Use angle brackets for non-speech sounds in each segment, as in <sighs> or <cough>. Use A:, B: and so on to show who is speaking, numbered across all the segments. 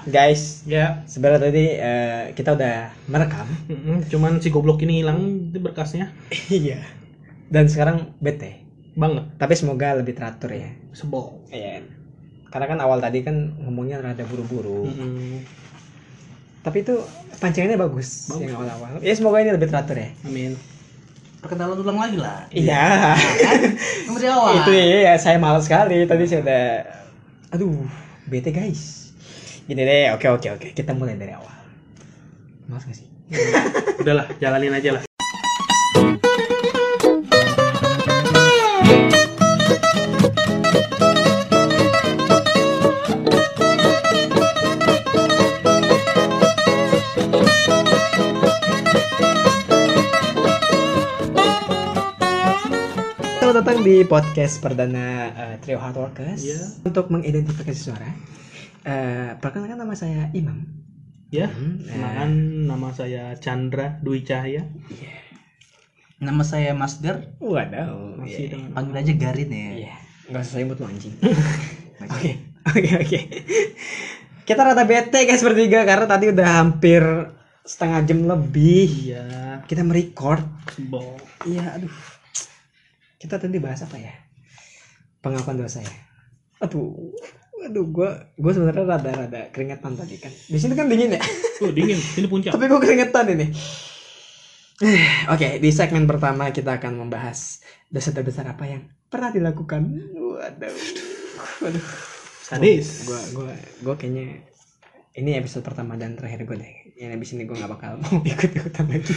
A: Guys,
B: Ya,
A: sebenarnya tadi eh, kita udah merekam.
B: mm-mm, cuman si goblok ini hilang di berkasnya
A: <laughs> Iya. Dan sekarang bete.
B: banget
A: Tapi semoga lebih teratur ya.
B: sebel.
A: Iya. Karena kan awal tadi kan ngomongnya rada buru-buru.
B: Mm-mm.
A: Hmm. Tapi itu pancingannya bagus,
B: Bagus.
A: yang awal-awal. Ya semoga ini lebih teratur ya.
B: Amin.
C: perkenalan ulang lagi lah
A: <laughs> Iya.
C: yang dari awal
A: itu ya, saya malas sekali tadi saya udah aduh, bete guys. Gini deh, oke oke oke, kita mulai dari awal. Malas gak sih?
B: Udahlah, jalanin aja lah.
A: Selamat datang di podcast perdana eh, Trio Hard Workers.
B: Iya.
A: Untuk mengidentifikasi suara, eh, perkenalkan nama saya Imam.
B: Ya.
A: Hmm, eh,
B: Kenalkan nama saya Chandra Dwi Cahya.
C: nama saya Masder
A: Waduh. Iya.
B: Masih dengan
C: panggil aja Garin ya
A: Iya. Nggak usah sebut lo <laughs> anjing. Oke. Oke oke. Kita rata bete guys bertiga karena tadi udah hampir setengah jam lebih
B: Iya,
A: kita merecord.
B: sebel.
A: Iya, aduh. Kita tadi bahas apa ya? Pengakuan dosa ya. Aduh. Aduh, gua gua sebenarnya rada-rada keringetan tadi kan. Di sini kan dingin ya.
B: Tuh dingin, sini puncak.
A: Tapi gua keringetan ini. <sighs> Eh, Oke, di segmen pertama kita akan membahas dosa terbesar apa yang pernah dilakukan. Waduh. Waduh.
B: Sadis.
A: Oh, Gua gua gua kayaknya ini episode pertama dan terakhir gue deh. Yang abis ini gue gak bakal mau <laughs> ikut-ikutan lagi.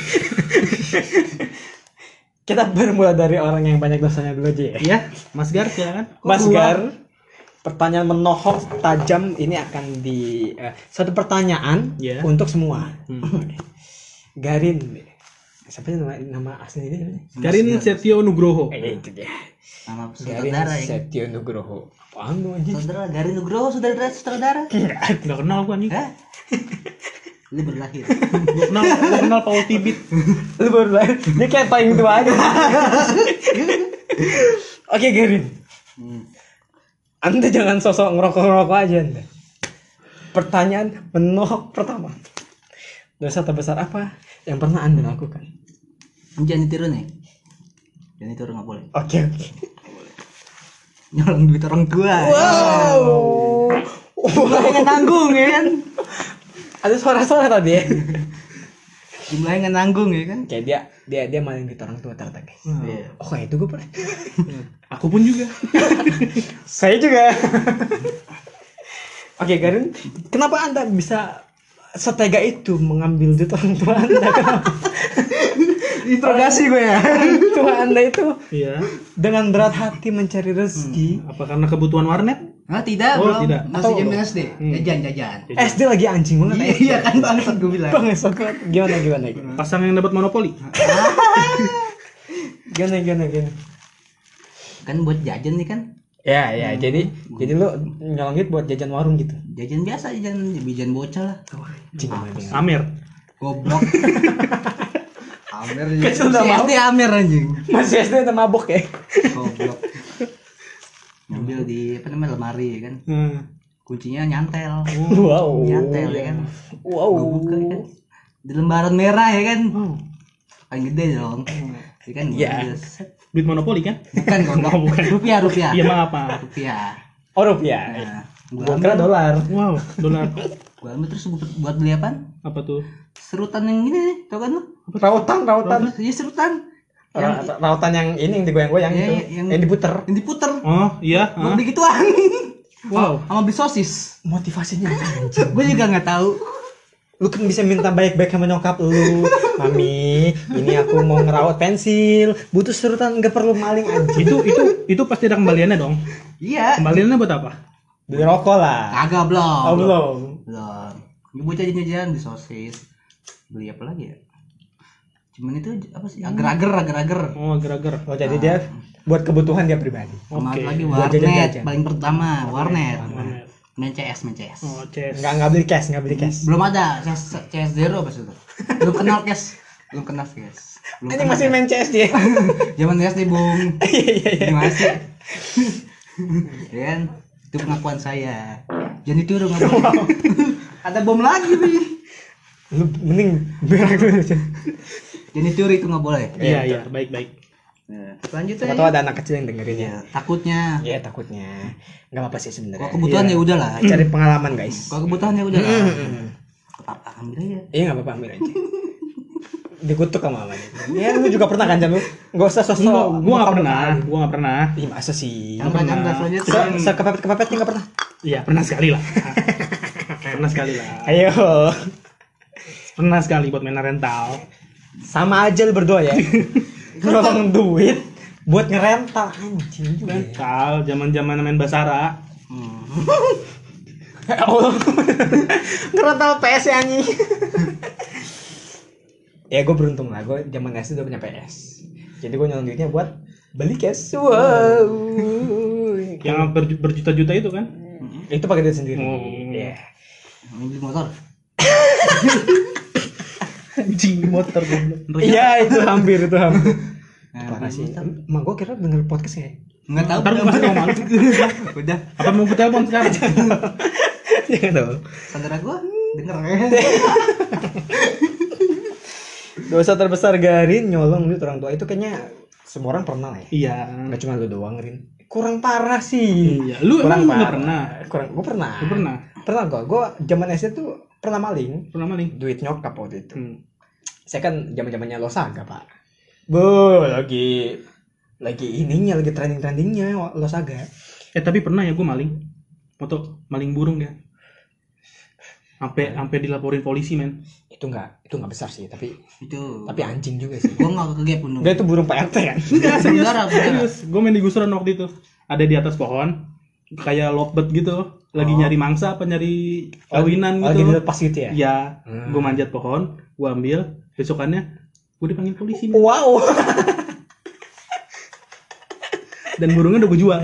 A: Kita bermula dari orang yang banyak dosanya dulu aja ya.
B: Iya, Mas Gar silakan. Kok
A: Mas
B: keluar?
A: Gar, pertanyaan menohok tajam ini akan di eh, satu pertanyaan
B: Iya.
A: untuk semua.
B: Hmm.
A: Garin, siapa sih nama, nama asli ini? namanya?
B: Garin Setio Nugroho.
A: Eh, itu dia.
C: nama
A: Garin
C: sutradara ya
A: Setio Nugroho. Apaan lu anjing?
C: sutradara Garin Nugroho sutradara sutradara
B: Enggak Eh, kenal gua nih.
C: Hah? <laughs> lu baru lahir
B: Gua kenal, gua kenal Paul Tibit.
A: Lu baru lahir. Dia kayak paling tua aja. Oke Garin,
C: Hmm.
A: Anda jangan sosok ngerokok-ngerokok aja Anda. Pertanyaan menohok pertama. Dosa terbesar apa yang pernah Anda lakukan?
C: jangan ditiru nih jangan ditiru nggak boleh
A: Oke oke.
C: nyolong duit orang tua
A: Wow.
C: Jumlahnya nggak nanggung ya kan
A: Ada suara-suara tadi ya.
C: jumlahnya nggak nanggung ya kan
A: Oke dia dia dia maling duit orang tua ternyata guys.
C: Iya.
A: Oh kayak itu gue pernah.
B: Aku pun juga.
A: <laughs> Saya juga. <laughs> Oke Garin, kenapa anda bisa setega itu mengambil duit orang tua anda? <laughs> Kenapa
C: interogasi gue ya
A: orang tua anda itu
B: Iya.
A: dengan berat hati mencari rezeki?
B: Apa karena kebutuhan warnet?
C: Hah, tidak Hmm.
B: Oh,
C: belum
B: tidak.
C: masih
A: Atau-
C: zaman SD jajan jajan
A: SD Eh, lagi anjing banget.
C: Iya, iya kan bangsat gue bilang
A: Bang, sokot. Gimana gimana gimana?
B: Pasang yang dapat monopoli.
A: Gimana gimana gimana?
C: kan buat jajan nih kan
A: Ya ya, jadi jadi lu nyolong duit buat jajan warung gitu.
C: jajan biasa jajan jajan bocah lah
A: Anjing, anjing.
B: Amer.
C: goblok <laughs> Amer ya.
A: Kecil udah mau.
C: SD Amer anjing
A: Masih SD udah mabok ya.
C: goblok ngambil di apa namanya lemari ya kan
B: Hmm.
C: kuncinya nyantel
A: Wow.
C: nyantel ya kan
A: Wow.
C: Gabut kali kan. di lembaran merah ya kan
B: Oh,
C: paling gede dong ya kan
A: Iya.
C: gua ambil, set.
B: duit monopoli kan?
C: bukan goblok
B: bukan.
C: rupiah rupiah
B: Iya maaf maaf.
C: rupiah
A: Oh rupiah.
C: nah,
A: Gua
C: gua ambil
A: kira dolar.
B: Wow, dolar.
C: gua ambil terus gua buat beli apa
B: Apa tuh?
C: serutan yang gini nih tau kan lu
A: Rautan, rautan.
C: iya serutan
A: Ra- ra- Rautan yang ini yang digoyang-goyang
C: Iya,
A: itu,
C: iya, yang-
A: yang diputer.
C: yang diputer
B: Oh, iya.
C: gua
B: ah.
C: beli gituan <laughs>
B: Wow.
C: sama beli sosis <laughs>
A: Motivasinya apa?
C: gue juga nggak tahu
A: lu kan bisa minta baik-baik sama nyokap lu mami ini aku mau ngerawat pensil butuh serutan nggak perlu maling anjing
B: Itu itu itu pasti ada kembaliannya dong.
C: iya
B: Kembaliannya buat apa?
A: beli rokok lah
C: kagak belum
A: oh, belum
C: belum ibu jajan jajan beli sosis beli apa lagi ya cuman itu apa sih agar-agar agar-agar
B: Oh, gara-gara.
A: oh jadi
C: Ah.
A: dia buat kebutuhan dia pribadi
C: sama
B: Oke.
C: satu lagi
A: Buat
C: warnet
A: jajan-jajan.
C: paling pertama warnet main CS main CS
A: Hmm.
B: Oh, CS.
A: nggak nggak beli cash nggak beli cash
C: belum ada CS CS zero pas itu belum kenal CS belum kenal CS belum ya.
A: ini
C: kenal
A: masih main CS <laughs> dia
C: CS. <laughs> zaman CS nih bung
A: <laughs> iya iya iya
C: gimana sih dan itu pengakuan saya Jangan ditiru nggak boleh. <laughs> Ada bom lagi nih.
A: Lu mending berak dulu aja.
C: Jangan ditiru itu nggak boleh.
B: Iya iya baik baik.
C: Nah,
A: Siapa
C: Selanjutnya.
A: tahu ada anak kecil yang dengerin ya.
C: Ya, takutnya.
A: Iya takutnya. Enggak apa-apa sih
C: Kalau
A: sebenarnya.
C: kebutuhan ya udahlah.
A: Iya. Cari pengalaman guys.
C: Kalau kebutuhan ya udahlah. Apa ambil aja.
A: <laughs> Iya nggak apa-apa ambil aja. Dikutuk sama mamanya. Ya lu juga pernah kan Jam? lu? Nggak usah sosok.
B: Enggak, gua nggak
A: Bukan-
B: pernah, gua nggak pernah.
A: Ih masa sih.
C: Yang banyak
B: pernah.
C: selanjutnya.
A: Se sekepepet kepepetnya nggak pernah.
B: Iya pernah sekali
A: <laughs>
B: lah. pernah sekali lah.
A: Ayo.
B: Pernah sekali buat main rental.
A: Sama aja lu berdua ya. Nyolong duit buat ngerental anjing juga. ya.
B: Rental zaman zaman main basara.
C: Hmm.
A: Oh,
B: <laughs>
A: ngerental PS ya anjing. <laughs> ya gue beruntung lah, gue zaman SD udah punya PS. Jadi gue nyolong duitnya buat beli cash.
B: <laughs>
A: Wow.
B: Yang berju- berjuta-juta itu kan?
A: itu pakai duit sendiri.
B: Oh.
A: Iya.
C: Ini beli motor.
B: Anjing motor goblok.
A: Iya itu hampir itu
B: <laughs>
A: hampir.
C: Nah,
A: Parah
C: beli
A: sih.
C: motor.
A: Mak gue kira denger podcast ya.
C: Nggak tahu.
B: Ntar gua kasih tau malu.
C: <laughs> Udah,
B: Apa mau gue telepon sekarang?
A: <laughs>
B: Iya,
A: Jangan tahu.
C: saudara gua denger. ya.
A: Dosa terbesar Garin nyolong duit orang tua itu kayaknya semua orang pernah lah ya.
B: iya.
A: Gak cuma lu doang Rin. Kurang parah sih.
B: Iya. Lu
A: Kurang
B: emang nggak
A: parah.
B: pernah?
A: Kurang gue pernah.
B: Lu pernah?
A: Pernah gue. Gue zaman SD tuh pernah maling
B: Pernah maling?
A: duit nyokap waktu itu.
B: Hmm.
A: Saya kan zaman zamannya Losaga pak. Bu lagi lagi ininya lagi trending trendingnya Losaga.
B: Eh tapi pernah ya gue maling. Foto maling burung ya. Sampai sampai dilaporin polisi men.
A: Itu nggak itu nggak besar sih tapi
C: Itu.
A: tapi anjing juga
B: <laughs>
A: sih.
C: Gua nggak kegep untung.
A: Enggak itu burung Pak RT kan?
C: Iya,
B: Enggak serius.
C: Berdarah, berdarah.
B: serius. Gue main di gusuran waktu itu. Ada di atas pohon kayak lovebird gitu. Lagi
A: Oh.
B: nyari mangsa apa nyari kawinan
A: Oh,
B: gitu.
A: lagi dilepas gitu ya?
B: Iya,
A: Hmm.
B: gue manjat pohon, gue ambil, besokannya gue dipanggil polisi men.
A: Wow. <laughs>
B: dan burungnya udah gue jual.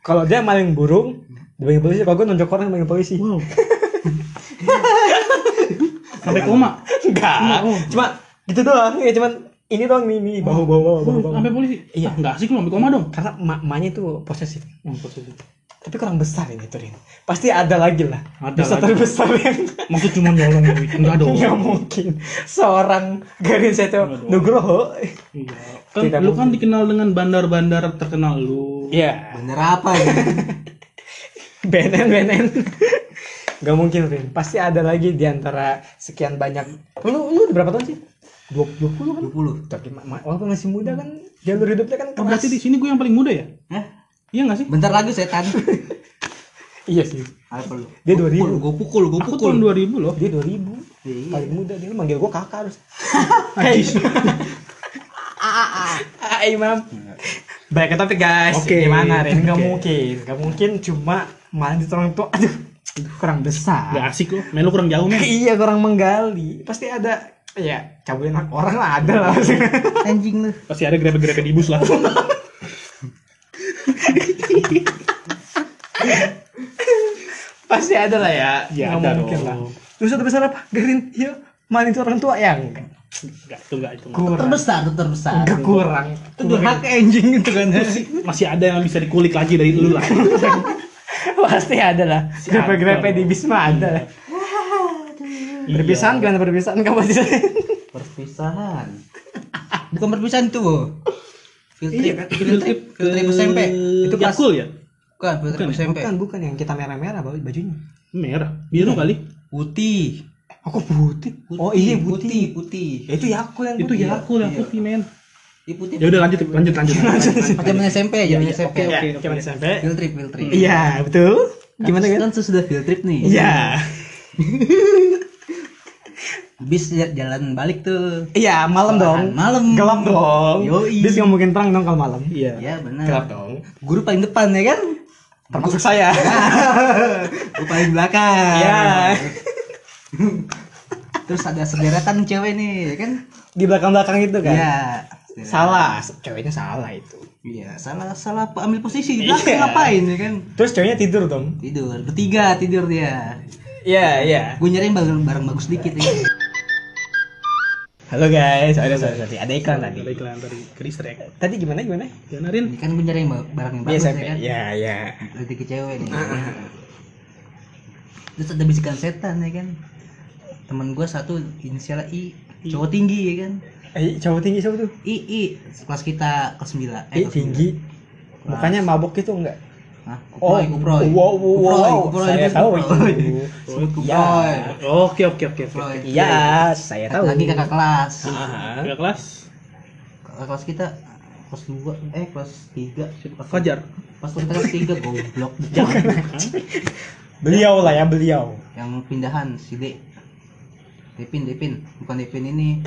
A: Kalau dia maling burung, dipanggil polisi. Kalau gue nonjok orang dipanggil polisi.
B: Wow. Sampai koma,
A: <laughs> Enggak.
B: Oh.
A: Cuma gitu doang. Ya cuman ini doang nih, nih. Bahu, bahu, bahu, bahu, bahu.
B: sampai polisi.
A: Iya.
B: Iya, enggak sih lu sampai koma dong.
A: Karena ma- emaknya itu posesif.
B: Oh, posesif.
A: Tapi kurang besar ini tuh, Rin. Pasti ada lagi lah.
B: Ada
A: Dosa
B: lagi.
A: terbesar <laughs> yang
B: Maksud cuma nyolong duit, enggak dong.
C: Iya.
A: nggak mungkin. Seorang Garin Seto
B: Aduh.
A: Nugroho.
B: Iya. Kan
A: Tidak
B: lu kan dikenal dengan bandar-bandar terkenal lu.
A: Iya.
C: Bener apa ya?
A: BNN, BNN. Gak mungkin, Rin. Pasti ada lagi di antara sekian banyak. Lu, lu udah berapa tahun sih? 20 kan?
C: 20.
A: tapi ma- ma- walaupun masih muda kan jalur hidupnya kan
B: Oh,
A: keras
B: berarti di sini gue yang paling muda ya?
C: Hah?
B: Iya enggak sih?
C: Bentar lagi setan.
A: iya sih
C: Apa lu?
A: Dia
C: Gua
A: 2000.
C: pukul, Gua pukul, gua
B: Aku
C: pukul.
B: tahun 2000 loh.
A: Oh, dia 2000
C: Iya.
A: paling muda dia manggil gua kakak <laughs> harus
B: Anjis.
A: gitu. <laughs> ah imam baik tapi guys
B: Oke.
A: gimana Ren nggak
B: Oke.
A: mungkin nggak mungkin cuma malah di orang tua aduh kurang
B: Enggak
A: besar
B: asik lu, main lu kurang jauh men.
A: <laughs> iya kurang menggali pasti ada ya cabulin hak orang lah ada lah
C: Anjing lu.
B: Pasti ada grepe-grepe di bus lah.
A: <laughs> pasti ada lah ya
B: Iya,
A: nggak
B: ada
A: mungkin
B: dong.
A: lah dosa terbesar apa Garin iya malah itu orang tua yang
B: Enggak, itu enggak itu. enggak.
A: kurang
C: Terbesar, tuh terbesar.
A: Nggak kurang
C: Itu durhaka anjing itu kan.
B: Masih ada yang bisa dikulik lagi dari lu lah.
A: <laughs> pasti ada lah grepe-grepe
B: ada.
A: di bis mah ada lah perpisahan gimana perpisahan kamu sih
C: Perpisahan. Bukan perpisahan itu. Bo. Field
A: Iya,
C: trip,
A: kan?
B: Field trip ke
C: field Iya, kan? trip SMP. Itu pas
B: Yakul ya?
C: bukan field trip SMP.
A: bukan bukan yang kita merah-merah bawa bajunya
B: Merah, biru kali.
C: Putih.
A: aku putih oh iya putih
C: putih, putih.
A: ya, itu ya aku yang
B: Itu
A: putih.
B: Yakul yang
C: Iya.
B: putih men.
C: Iya putih.
B: Ya udah lanjut lanjut
C: <laughs>
B: lanjut. lanjut,
C: Pas zaman SMP,
B: Iya,
C: zaman
B: iya,
C: SMP.
B: oke.
A: ya kita sampai
C: Field trip, field trip.
A: iya betul gimana
C: Kan-
A: kan
C: Kan sudah field trip nih.
A: iya
C: Bis jalan balik tuh.
A: iya malam dong
C: Sekolahan malam.
A: gelap dong
C: Yoi.
A: bis nggak mungkin terang dong kalau malam
B: Iya.
C: Iya benar.
A: gelap dong
C: Guru paling depan ya kan?
A: termasuk
C: <laughs>
A: saya
C: Gua paling belakang.
A: Iya.
C: <laughs> Terus ada sederetan cewek nih, ya kan?
A: di belakang-belakang itu kan
C: Iya.
A: salah ceweknya salah itu
C: Iya, salah salah apa- ambil posisi di
A: Iya.
C: belakang ngapain ya kan?
A: terus ceweknya tidur dong
C: Tidur, bertiga tidur dia.
A: iya iya
C: Gue nyariin bareng bareng bagus dikit ya.
A: Halo guys, ada sorry, sorry. ada iklan tadi.
B: Ada iklan dari Chris Rek.
A: Tadi gimana gimana?
B: Janarin.
C: Ini kan gue nyariin ba- barang yang
A: Iya
C: bagus ya
A: sampai.
C: kan?
A: Ya ya.
C: Bertiga cewek nih. terus ada bisikan setan ya kan temen gue satu inisialnya I cowok tinggi ya kan
A: Eh, cowok tinggi siapa tuh?
C: I I kelas kita ke sembilan
A: Eh,
C: kelas
A: tinggi.
C: Kelas.
A: Mukanya mabok gitu enggak?
C: sembilan. Hah? Kuproy, kuproy.
A: Oh, wow, wow,
C: Kuproy,
A: wow.
C: kuproy,
A: Saya
C: disebut
A: tahu
C: kuproy.
A: itu.
C: Disebut
A: Ya.
C: kuproy.
B: Oke oke oke oke.
C: Kuproy.
A: Iya, saya
C: Ada
A: tahu.
C: lagi kakak kelas Iya.
A: Aha.
B: Tiga kelas.
C: Kakak kelas kita kelas dua eh kelas tiga kelas
B: Fajar.
C: pas kita kelas tiga goblok Jangan.
A: Beliau lah ya, beliau.
C: yang pindahan si D Depin Depin bukan Depin ini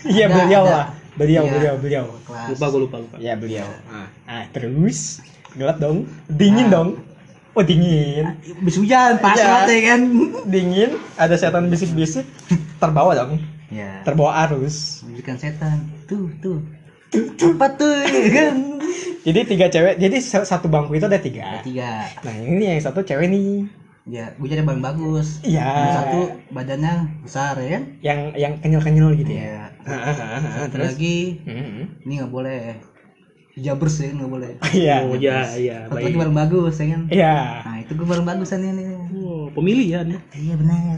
A: Iya,
C: Ada,
A: beliau
C: ada.
A: lah. Beliau,
C: Iya.
A: beliau, beliau.
C: kelas
B: Lupa gue lupa lupa.
A: Ya,
C: Iya.
A: beliau. Ah, ah, terus gelap dong. Dingin
C: Ah.
A: dong. Oh, dingin.
C: bis hujan pas
A: Iya.
C: banget ya kan
A: Dingin, ada setan bisik-bisik terbawa dong,
C: ya
A: terbawa arus.
C: bukan setan tuh tuh apa tuh
A: <laughs>
C: ya kan
A: Jadi tiga cewek, jadi se- satu bangku itu ada tiga.
C: tiga
A: Nah, ini yang satu cewek nih.
C: ya gue jadi bahan bagus
A: Iya.
C: yang satu badannya besar ya kan
A: yang yang kenyal-kenyal gitu ya. Hmm.
C: Iya.
A: Heeh,
C: Satu lagi
A: Heeh.
C: ini nggak boleh jabers ya nggak boleh
A: Iya.
B: Oh iya iya
C: satu lagi
B: baik.
C: barang bagus ya kan
A: Iya.
C: nah itu gue barang bagusan ini
B: Oh, pemilihan ya.
C: iya benar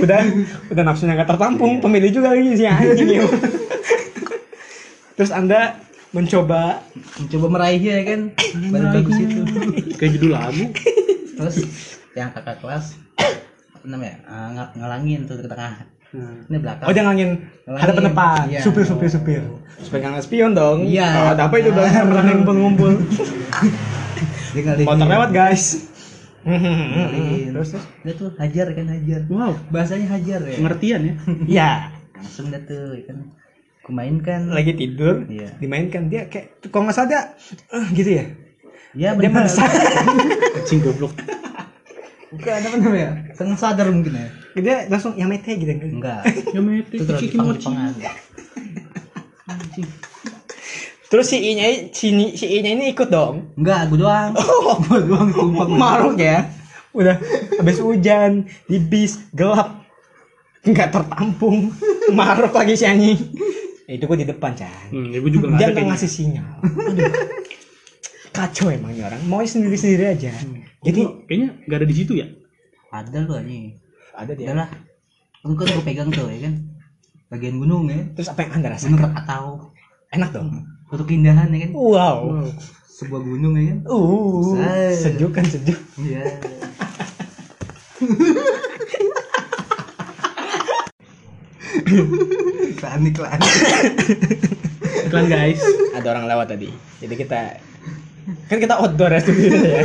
A: Udah udah nafsunya nggak
C: Iya.
A: tertampung, pemilih juga lagi si
C: <laughs>
A: anjing. ya. Terus Anda mencoba
C: <laughs> mencoba meraihnya ya kan barang bagus itu
B: Kayak judul lagu.
C: terus yang kakak kelas enam ya eh, ng- ngalangin tuh ke tengah ini belakang
A: Oh jangan ngangin hadapan depan,
C: Iya.
A: supir supir supir. Supir nggak spion dong.
C: Iya.
A: Oh, ada apa
C: <laughs>
A: itu belakang pernah ngumpul ngumpul.
C: dia ngalingin
A: Motor lewat
C: <laughs>
A: guys.
C: Ngalingin.
A: terus terus.
C: dia tuh hajar ya kan hajar
B: Wow,
C: bahasanya hajar ya
B: pengertian ya.
A: Iya.
C: langsung dia tuh ya kan kumainkan
A: Lagi tidur.
C: Iya.
A: Dimainkan dia kayak kalau nggak salah dia, eh, gitu ya.
C: ya
A: Dia
C: benar
A: merasa
C: <laughs>
B: Kecil goblok.
C: bukan apa namanya seneng sadar mungkin ya
A: dia langsung yang mete gitu kan.
C: enggak
B: Ya mete
C: itu terlalu
B: kikimochi.
C: jepang-jepangan
A: Terus si I-nya si, Ni- si I-nya ini ikut dong.
C: enggak gue doang
A: Oh,
C: gue doang <laughs> tumpang
A: Maruk ya. Udah habis hujan, di bis, gelap. Nggak tertampung. Maruk lagi si anjing. Itu gue di depan, Chan.
B: Hmm, ya gue juga nggak
A: Dia
B: ada
A: nggak
B: kayaknya.
A: ngasih sinyal. Aduh. Kacau emang nih orang. Mau sendiri-sendiri aja. Jadi
B: Kok kayaknya nggak ada di situ ya.
C: ada lu anjing
A: ada
C: udah lah lu kan gue pegang tuh ya kan bagian gunung ya
A: Terus apa yang Anda rasakan?
C: gunung Krakatau
A: Enak dong.
C: suatu keindahan ya kan
A: Hmm. Wow.
B: Wow.
C: sebuah gunung ya kan
A: Uh,
C: Say.
A: sejuk kan sejuk.
C: <laughs> iya iklan iklan
B: Iklan guys.
A: ada orang lewat tadi jadi kita kan kita outdoor ya studionya ya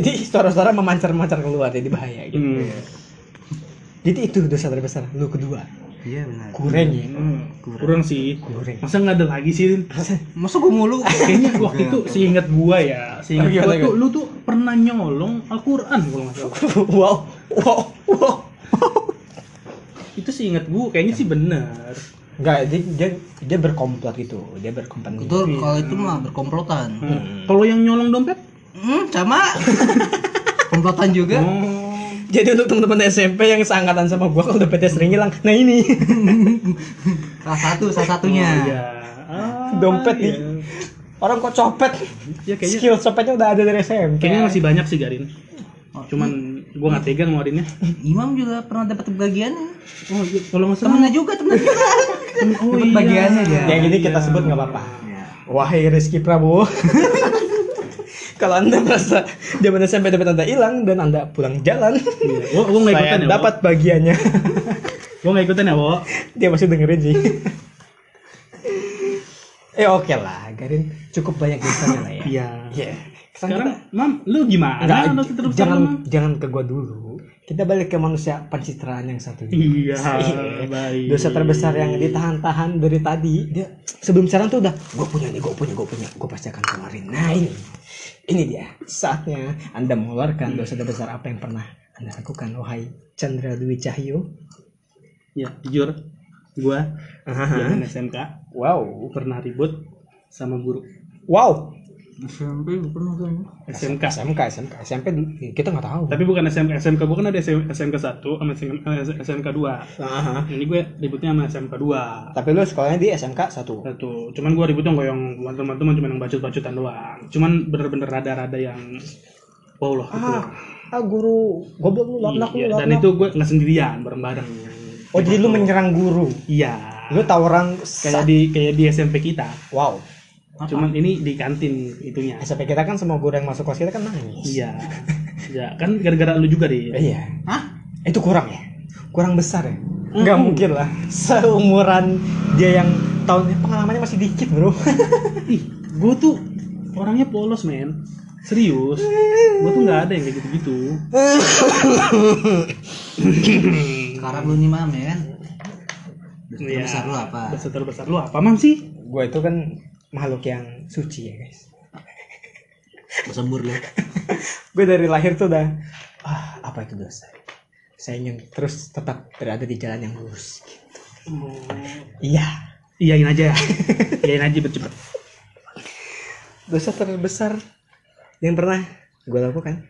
A: jadi suara-suara memancar-mancar keluar jadi bahaya gitu
B: Hmm.
A: jadi itu dosa terbesar lu kedua
C: iya benar
A: kurang ya
B: Kurang. Hmm, Kurang sih.
A: Kurang.
B: Masa nggak ada lagi sih? Din?
C: masa gue mulu
B: Kayaknya waktu itu seingat gua ya, seingat
A: Oke,
B: gua
A: oke.
B: tuh lu tuh pernah nyolong Al-Qur'an kalau nggak salah.
A: <laughs> wow wow wow
B: Itu seingat gua kayaknya sih benar.
A: Enggak, dia, dia, dia berkomplot gitu dia berkomplot
C: itu kalau itu mah berkomplotan
B: Hmm. Kalau yang nyolong dompet?
C: hmm <laughs> sama Hmm. komplotan juga
B: Oh.
A: jadi untuk teman-teman SMP yang seangkatan sama gua kalau dompetnya sering hilang nah ini
C: salah satu salah satunya
B: Ya. Ah,
A: Dompet
B: ya.
A: di- orang kok copet
B: Ya kayaknya
A: skill copetnya udah ada dari SMP
B: kayaknya masih banyak sih Garin. Oh. Cuman gua nggak tegang ngeluarinnya.
C: Imam juga pernah dapat bagiannya
B: Oh, iya. kalau nggak salah
C: temennya juga temennya juga
B: oh,
C: Dapat
B: iya.
C: bagiannya dia.
A: yang ini Ya, kita sebut nggak apa-apa
C: ya.
A: Wahai Rizky Prabowo <laughs> Kalau anda merasa zaman SMP dapat anda hilang dan anda pulang jalan
B: Iya. Gua gua nggak
A: Saya
B: ikutan ya. Wo.
A: dapat
B: <laughs>
A: bagiannya
B: Gua nggak ikutan ya, Wo.
A: Dia masih dengerin sih Eh oke lah Garin cukup banyak misalnya lah ya
B: Iya.
A: Iya Sekarang
B: Sekarang, Mam, lu gimana?
A: Enggak,
B: Lu terus
A: jangan
B: sama, Mam?
A: jangan ke gua dulu. Kita balik ke manusia pencitraan yang satu. ini. <laughs>
B: Iya,
A: Iya.
B: baik.
A: Dosa terbesar yang ditahan-tahan dari tadi, dia sebelum sekarang tuh udah gua punya nih, gua punya, gua punya, gua pasti akan keluarin. Nah, ini. Ini dia saatnya Anda mengeluarkan dosa terbesar apa yang pernah Anda lakukan wahai Chandra Dwi Cahyo.
B: Ya, jujur. Gua
A: Aha.
B: zaman SMK
A: Wow.
B: pernah ribut sama guru
A: Wow.
C: SMP gue pernah kan
B: SMK.
A: SMK, SMK, SMP dulu. kita nggak tahu.
B: Tapi bukan SMK, SMK gua kan ada SM- SMK 1 sama eh, SMK 2.
A: Aha.
B: Ini gue ributnya sama SMK 2.
A: Tapi lu sekolahnya di SMK satu.
B: Satu. Cuman gua ributnya nggak yang teman-teman cuman yang bacut-bacutan doang. Cuman bener-bener rada-rada yang wow loh gitu.
A: Ah, ah guru goblok lu laknak lu
B: Iya,
A: laknak
B: dan itu gue nggak sendirian bareng-bareng. Gitu.
A: oh jadi lu menyerang guru
B: Iya.
A: lu tawuran
B: kayak
A: saat-
B: di kayak di SMP kita.
A: wow Ah.
B: Cuman ini di kantin itunya.
A: SMP kita kan semua guru yang masuk kelas kita kan nangis
B: Iya. Ya, kan gara-gara lu juga
A: Eh,
B: deh.
A: iya
C: Hah?
A: itu kurang ya kurang besar ya nggak mungkin lah seumuran dia yang tahunnya pengalamannya masih dikit bro <laughs>
B: Ih, gue tuh orangnya polos, men. Serius. Gue tuh nggak ada yang kayak gitu-gitu.
C: Sekarang lu nih mam ya kan.
B: Iya.
C: Besar besar lu apa?
B: Besar terbesar lu apa, Mam sih?
A: gue itu kan makhluk yang suci ya guys <laughs>
C: Bersembur lu.
A: gue dari lahir tuh udah ah apa itu dosa saya ingin terus tetap berada di jalan yang lurus iya
B: Iyain aja ya. Iyain aja bercepat.
A: dosa terbesar yang pernah gue lakukan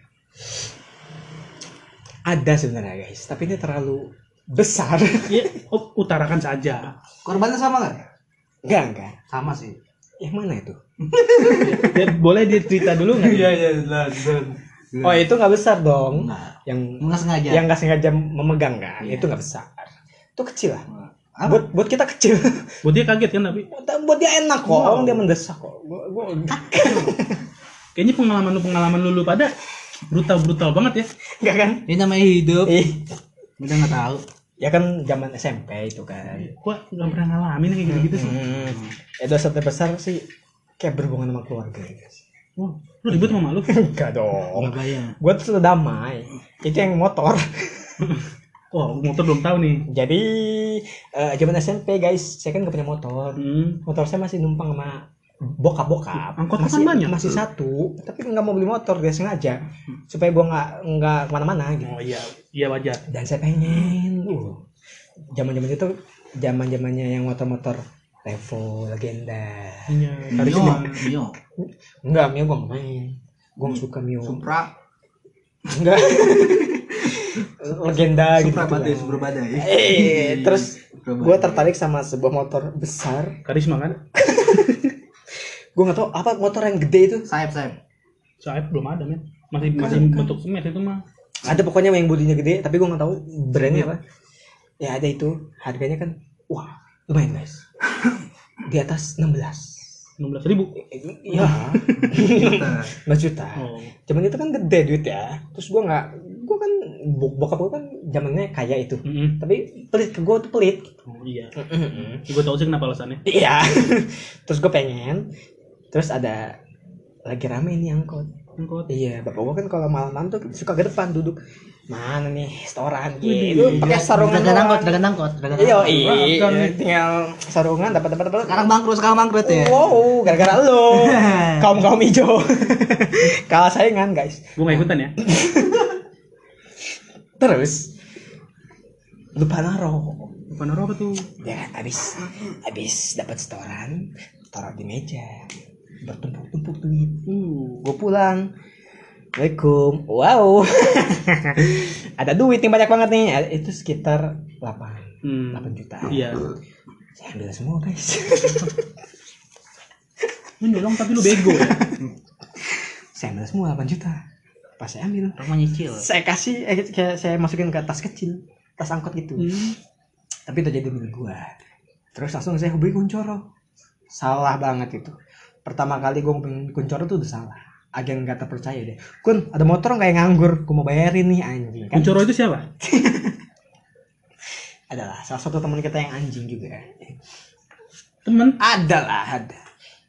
A: ada sebenarnya guys tapi ini terlalu besar <laughs>
B: Ya, oh, utarakan saja.
C: Korbannya sama nggak?
A: enggak enggak
C: Sama sih.
A: yang mana itu
B: Ya, boleh dia cerita dulu nggak?
C: Iya iya jelas.
A: oh itu nggak besar dong
C: Enggak.
A: yang
C: Enggak sengaja.
A: yang nggak sengaja memegang kan
C: Iya.
A: itu nggak besar itu kecil lah
C: Apa?
A: buat buat kita kecil
B: Buat dia kaget kan tapi
A: <laughs> buat dia enak kok orang dia mendesak kok gua, gua,
B: kayaknya pengalaman lu pengalaman lu, lu pada brutal brutal banget ya.
A: enggak kan
C: Ini namanya hidup.
A: Ih,
C: Udah nggak tahu.
A: ya kan zaman SMP itu kan.
B: Gua nggak pernah ngalamin kayak gitu gitu sih.
A: Hmm. Itu terbesar sih kayak berhubungan sama keluarga ya guys.
B: Wah, lu ribut sama lu?
A: Enggak dong.
C: Nggak bayang.
A: Gue tuh sudah damai. Itu yang motor.
B: Wah, motor belum tahu nih.
A: Jadi eh, zaman SMP guys, saya kan gak punya motor.
B: Hmm.
A: Motor saya masih numpang sama bokap-bokap.
B: Angkotnya kan
A: masih,
B: banyak.
A: Masih satu. Tapi nggak mau beli motor dia sengaja supaya gue nggak nggak kemana-mana gitu.
B: Oh iya, iya wajar.
A: dan saya pengen uh zaman zaman itu zaman zamannya yang motor-motor level legenda
B: Iya.
C: Mio, Mio,
A: enggak mio gue nggak main gue nggak suka mio
C: Supra,
A: enggak <laughs> legenda gitu
C: Supra badai,
A: lah.
C: Supra badai. <laughs>
A: eh terus
C: Supra
A: gue
C: badai.
A: tertarik sama sebuah motor besar
B: Karisma kan?
A: gue nggak tahu apa motor yang gede itu
C: sayap sayap.
B: Soalnya belum ada men. Masih masih bentuk semet itu mah.
A: ada pokoknya yang bodinya gede tapi gue nggak tahu brandnya apa ya ada itu harganya kan wah lumayan guys di atas 16
B: 16 ribu.
A: Iya, <laughs> 16 juta.
B: Oh.
A: Cuman itu kan gede duit ya. Terus gua nggak, gua kan bok- bokap gua kan zamannya kaya itu.
B: Mm-mm.
A: Tapi pelit ke gua tuh pelit.
B: Hmm. Oh, iya. Gue tahu sih kenapa alasannya.
A: Iya. <laughs> Terus gua pengen. Terus ada lagi rame nih angkot.
B: Angkot.
A: Iya, bapak gua kan kalau malam-malam tuh suka ke depan duduk. Mana nih restoran
B: Widih.
A: gitu. Pakai sarungan
C: Dagangan angkot,
A: doang.
C: dagangan angkot, dagangan
A: Iya,
C: angkot.
A: iya. Tinggal sarungan dapat dapat dapat.
C: Sekarang bangkrut, sekarang bangkrut ya.
A: Wow, gara-gara
C: <laughs>
A: lo. kaum kaum hijau. <laughs> Kalah saingan, guys.
B: Gue gak ikutan ya.
A: Terus lupa naro.
B: Panoro apa tuh?
A: Ya, habis habis dapat setoran, taruh di meja. Bertumpuk-tumpuk duit.
B: Uh.
A: Gue pulang. Assalamualaikum.
B: <laughs>
A: Wow. Ada duit nih banyak banget nih. Eh, Itu sekitar 8
B: Hmm.
A: 8 juta.
B: Iya.
A: Saya ambil semua, guys. <laughs>
B: Lu nyolong tapi lu bego ya.
A: saya ambil semua 8 juta. Pas saya ambil,
C: Rumah nyicil.
A: saya kasih eh, kayak saya masukin ke tas kecil, tas angkot gitu.
B: Hmm.
A: tapi itu jadi diri gue terus langsung saya hubungi Kuncoro salah banget itu pertama kali gue hubungi Kuncoro tuh udah salah agen gak terpercaya deh Kun ada motor kayak nganggur gue mau bayarin nih anjing kan
B: Kuncoro itu siapa?
A: adalah salah satu teman kita yang anjing juga ya.
B: Temen.
A: adalah ada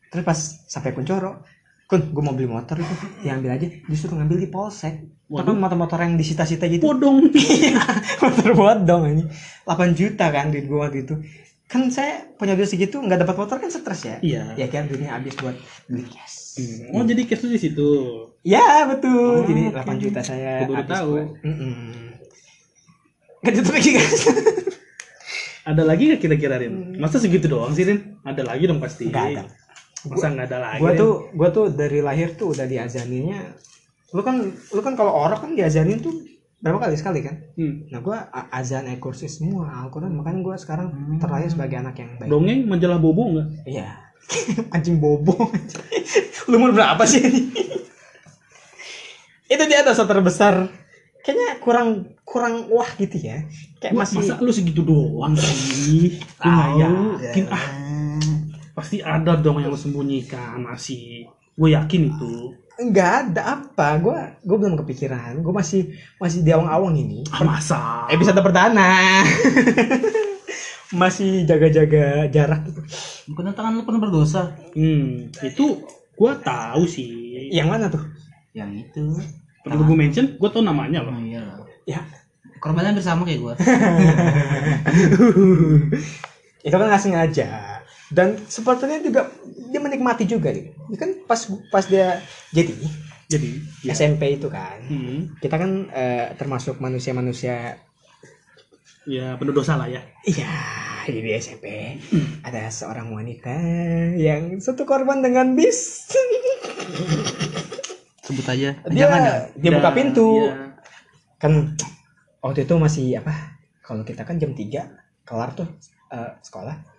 A: terus pas sampai Kuncoro Kun gue mau beli motor itu diambil aja disuruh ngambil di polsek tapi
B: Waduh.
A: motor-motor yang disita-sita gitu
B: Bodong.
A: <laughs> motor bodong ini 8 juta kan duit gua waktu itu kan saya punya duit segitu nggak dapat motor kan stres ya
B: <laughs> Iya.
A: ya kan duitnya habis buat beli gas
B: Oh jadi case lu di situ.
A: ya betul jadi
B: Oh, oke.
A: 8 juta saya
B: Gua baru
A: habis
B: tahu.
A: buat Mm-mm. nggak tutup lagi guys <laughs>
B: Ada lagi nggak kira-kira Rin? Masa segitu doang sih Rin? Ada lagi dong pasti.
A: Nggak ada.
B: Masa nggak ada lagi?
A: gua
B: Rin?
A: tuh gua tuh dari lahir tuh udah diajaninnya lu kan lu kan kalau orok kan diajanin tuh berapa kali sekali kan
B: Hmm.
A: nah gua a- azan eh kursi semua Al-Quran makanya gua sekarang terlahir sebagai anak yang baik
B: Dongeng majalah bobo nggak?
A: Iya. <laughs> Anjing bobo. <laughs> Lu umur berapa sih ini? Itu dia dosa terbesar kayaknya kurang kurang wah gitu ya kayak
B: Lu-
A: masih iya.
B: masa lu segitu doang sih Lu nggak
C: Ah, iya.
B: yakin ah pasti ada dong yang lu sembunyikan masih gue yakin itu
A: nggak ada apa gue gue belum kepikiran gue masih masih di awang-awang ini
B: ah, masa
C: Eh,
A: episode perdana <laughs> masih jaga-jaga jarak gitu.
C: Bukannya tangan lu pernah berdosa?
B: hmm, itu gue tahu sih
A: yang mana tuh
C: Yang itu.
B: perlu gue mention gue tau namanya loh
C: Oh iya lah.
A: ya <laughs>
C: Korbannya hampir sama kayak gua.
A: itu kan nggak sengaja dan sepertinya juga dia menikmati juga gitu Dia kan pas pas dia jadi
B: jadi
C: Iya.
B: ya.
A: SMP itu kan
B: Hmm,
A: kita kan eh, termasuk manusia-manusia
B: ya penuh dosa lah ya
A: Iya, jadi di SMP ada seorang wanita yang satu korban dengan bis.
C: <laughs>
A: <laughs>
C: Sebut aja.
A: Dia
C: Jangan Iya. dong.
A: dia buka
B: Dan,
A: pintu.
B: ya.
A: Kan waktu itu masih apa? Kalau kita kan jam 3 kelar tuh eh, sekolah.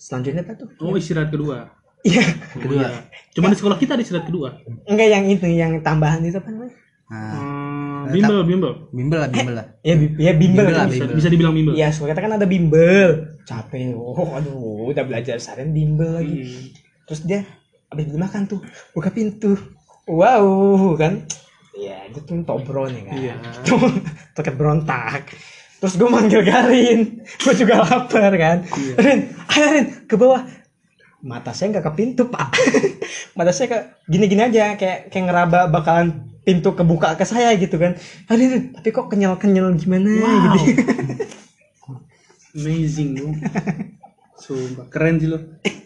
A: Selanjutnya apa tuh?
B: Oh istirahat kedua.
A: Iya,
C: Kedua.
B: Iya. Cuma di sekolah kita ada istirahat kedua.
A: enggak yang itu, yang tambahan itu apa namanya?
C: Nah,
B: Hmm, bimbel, bimbel.
C: bimbel lah, bimbel lah.
A: Ya, bi- ya bimbel.
C: Bimbel
A: kan?
C: Ah,
B: Bisa,
C: bimbel.
B: bisa dibilang bimbel.
A: Iya, sekolah kita kan ada bimbel. Capek, oh, aduh, udah belajar seharian bimbel lagi.
B: Hmm.
A: terus dia habis beli makan tuh buka pintu wow kan ya itu tuh tobron ya kan
B: Iya.
A: tuh terkait berontak terus gue manggil Karin gue juga lapar kan
B: Iya.
A: Rin ayo Rin ke bawah mata saya nggak ke pintu pak <laughs> mata saya ke gini-gini aja kayak kayak ngeraba bakalan pintu kebuka ke saya gitu kan "Ah, Rin, Rin, tapi kok kenyal-kenyal gimana
B: Wow.
A: gitu
B: Amazing
C: <laughs>
B: lu. Sumpah keren sih lu.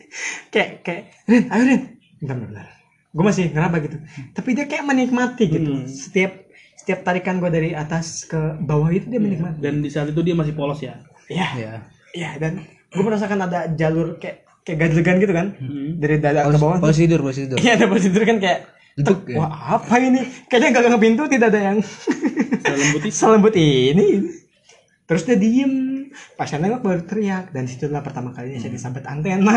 A: <laughs> kayak kayak Rin ayo Rin bentar bentar, bentar gue masih ngeraba gitu tapi dia kayak menikmati gitu
B: Hmm.
A: setiap setiap tarikan gue dari atas ke bawah itu
B: Iya.
A: dia menikmati
B: Dan di saat itu dia masih polos ya.
A: ya
C: Iya.
A: ya dan gue merasakan ada jalur kayak kayak gajegan gitu kan
B: Hmm.
A: dari dada ke bawah
C: Polisi tidur, polisi tidur.
A: Iya ada prosedur kan kayak
C: Duduk ya.
A: wah apa ini kayaknya gak ke pintu tidak ada yang <laughs>
B: Saya lembut itu.
A: selembut ini terus dia diem pas saya nengok baru teriak dan situlah pertama kalinya
B: Hmm.
A: saya Nah. disabet <laughs> antena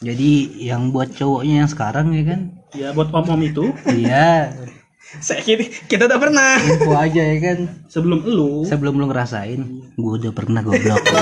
C: Jadi yang buat cowoknya yang sekarang ya kan?
B: Ya buat om om itu
C: Iya,
A: saya kira kita udah pernah
C: info aja ya kan.
B: sebelum lu
C: Sebelum lu ngerasain, gua udah pernah goblok.